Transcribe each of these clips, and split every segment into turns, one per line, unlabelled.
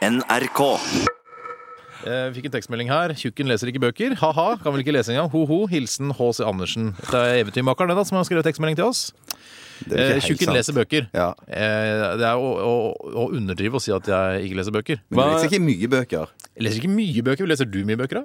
NRK.
Jeg Eh, fikk en tekstmelding her. 'Tjukken leser ikke bøker'. Ha-ha, kan vel ikke lese engang. Ho-ho. Hilsen H.C. Andersen. Det er eventyrmakeren det da, som har skrevet tekstmelding til oss.
Det er ikke
Eh,
helt
Tjukken
sant.
leser bøker.
Ja.
Eh, Det er å, å, å underdrive å si at jeg ikke leser bøker.
Men
Hva-
du leser ikke mye bøker.
Jeg leser ikke mye bøker. Leser du mye bøker, da?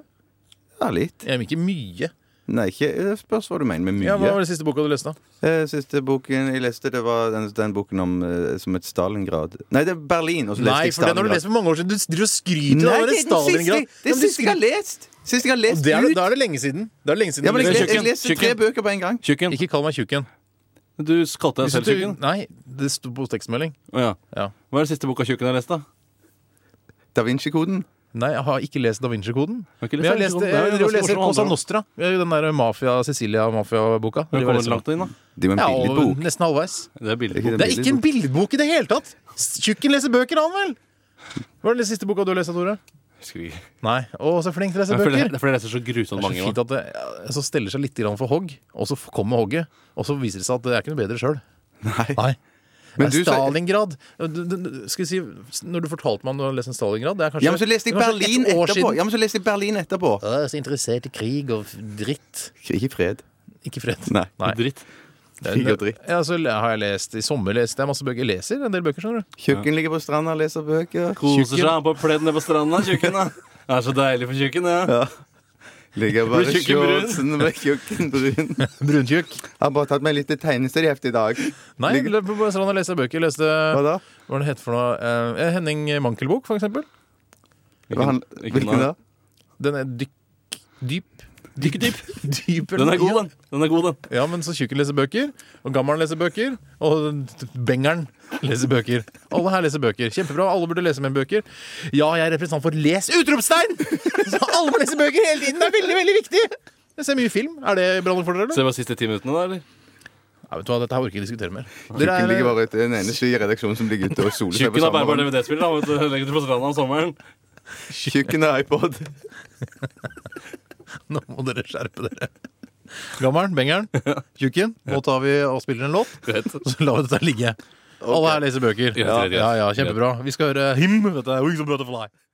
Ja, litt.
Jeg, ikke mye.
Nei, ikke Det spørs hva du mener med mye.
Ja, Hva var den siste boka du leste, da?
Eh, Siste boken jeg leste, det var den, den boken om eh, som et Stalingrad Nei, det er Berlin. Og så leste
Nei,
jeg
for den har du
Stalingrad.
lest for mange år siden. Du driver og skryter av
det er den siste,
Stalingrad.
det er siste jeg har lest! Siste jeg har lest
Det er,
ut!
da er det lenge siden. Det er lenge siden
Ja, men
du leste
jeg, jeg, jeg
Tjukken,
leste tre
tjukken.
bøker på en gang.
tjukken.
Tjukken.
Ikke kall meg tjukken.
Du kalte deg selv
Du,
tjukken?
nei, det sto på tekstmelding.
Å ja.
Ja.
Hva er det siste boka tjukken har lest, da?
Da Vinci-koden.
Nei, jeg har ikke lest Da Vinci-koden.
Har ikke
Men jeg har
lest Da
lest
Vinci-koden. Det er jo
jeg driver og
ganske
leser
morsomt
Cosa
andre.
Nostra. Det er jo Den der mafia, Sicilia-mafia-boka. Driver
Har du
og
kommet
leser
langt inn, da?
Det
den.
var
sånn- Ja,
en
og
billedbok.
nesten halvveis.
Det er
Er ikke
billig.
det
Det er ikke en billedbok i det hele tatt! Tjukken leser bøker, han vel! Hva er den siste boka du har lest, Tore?
Husker ikke.
Nei. Å, så flink til å lese
Det er fordi-
bøker!
det er fordi jeg leser så
Det
grusomt
er
mange.
så
nå.
fint at det ja, så steller seg litt grann for hogg, og så kommer hogget. Og så viser det seg at det er ikke noe bedre sjøl. Nei.
Men
Det
du
er
sa-
Stalingrad du, du, du, Skal vi si Når du fortalte meg om du hadde lest en Stalingrad Det er kanskje,
Ja, men så leste jeg
det er kanskje
Berlin
ett år
etterpå.
siden.
Ja, men så leste jeg Berlin etterpå.
Jeg er så interessert i krig og dritt.
Ikke fred.
Ikke fred.
Nei.
Dritt.
Det er-
Krig og dritt.
Ja, så har jeg lest I sommer leste jeg masse bøker. Jeg leser en del bøker, skjønner du.
Tjukken ligger på stranda og leser bøker.
Koser seg på pleddene på stranda, tjukken. da. Det er så deilig for tjukken, det. Ja.
Ligger bare i
Blir tjukken brun.
shortsen med tjukken brun. Jeg
Bruntjukk.
har bare tatt meg litt til tegneseriehefte i dag.
Nei, jeg
Ligger-
løp på stranda og leste bøker. Jeg leste
Hva
hva
da?
var det het for noe eh, Henning Mankelbok, for eksempel.
Hva han, hvilken da?
Den er dykk... Dyp. Dykkdyp. Dyp
Den er god, den. Den er god, den.
Ja, men så tjukken leser bøker, og gammelen leser bøker, og bengeren leser bøker. Alle her leser bøker. Kjempebra. Alle burde lese mer bøker. Ja, jeg er representant for Les! Utropstegn! Så alle må lese bøker hele tiden! Det er veldig, veldig viktig! Jeg ser mye film. Er det bra nok for dere?
Se
eller?
hva siste ti minuttene, da, eller?
Nei, vet du hva, Dette her orker jeg ikke diskutere mer. Dere
Tjukken
er,
ligger bare ute. Den eneste i redaksjonen som ligger ute og soler seg på
Tjukken har bærbar
sommeren.
DVD-spiller. da, vet du. Legger det på stranda om sommeren.
Tjukken har iPod.
nå må dere skjerpe dere. Gammelen, bengeren, tjukken. Nå tar vi og spiller en låt,
Greit.
og så lar vi dette ligge. Alle her leser bøker.
Greit, greit, greit.
Ja, ja, kjempebra. Vi skal høre Him. Dette er jo ikke så bra til for deg.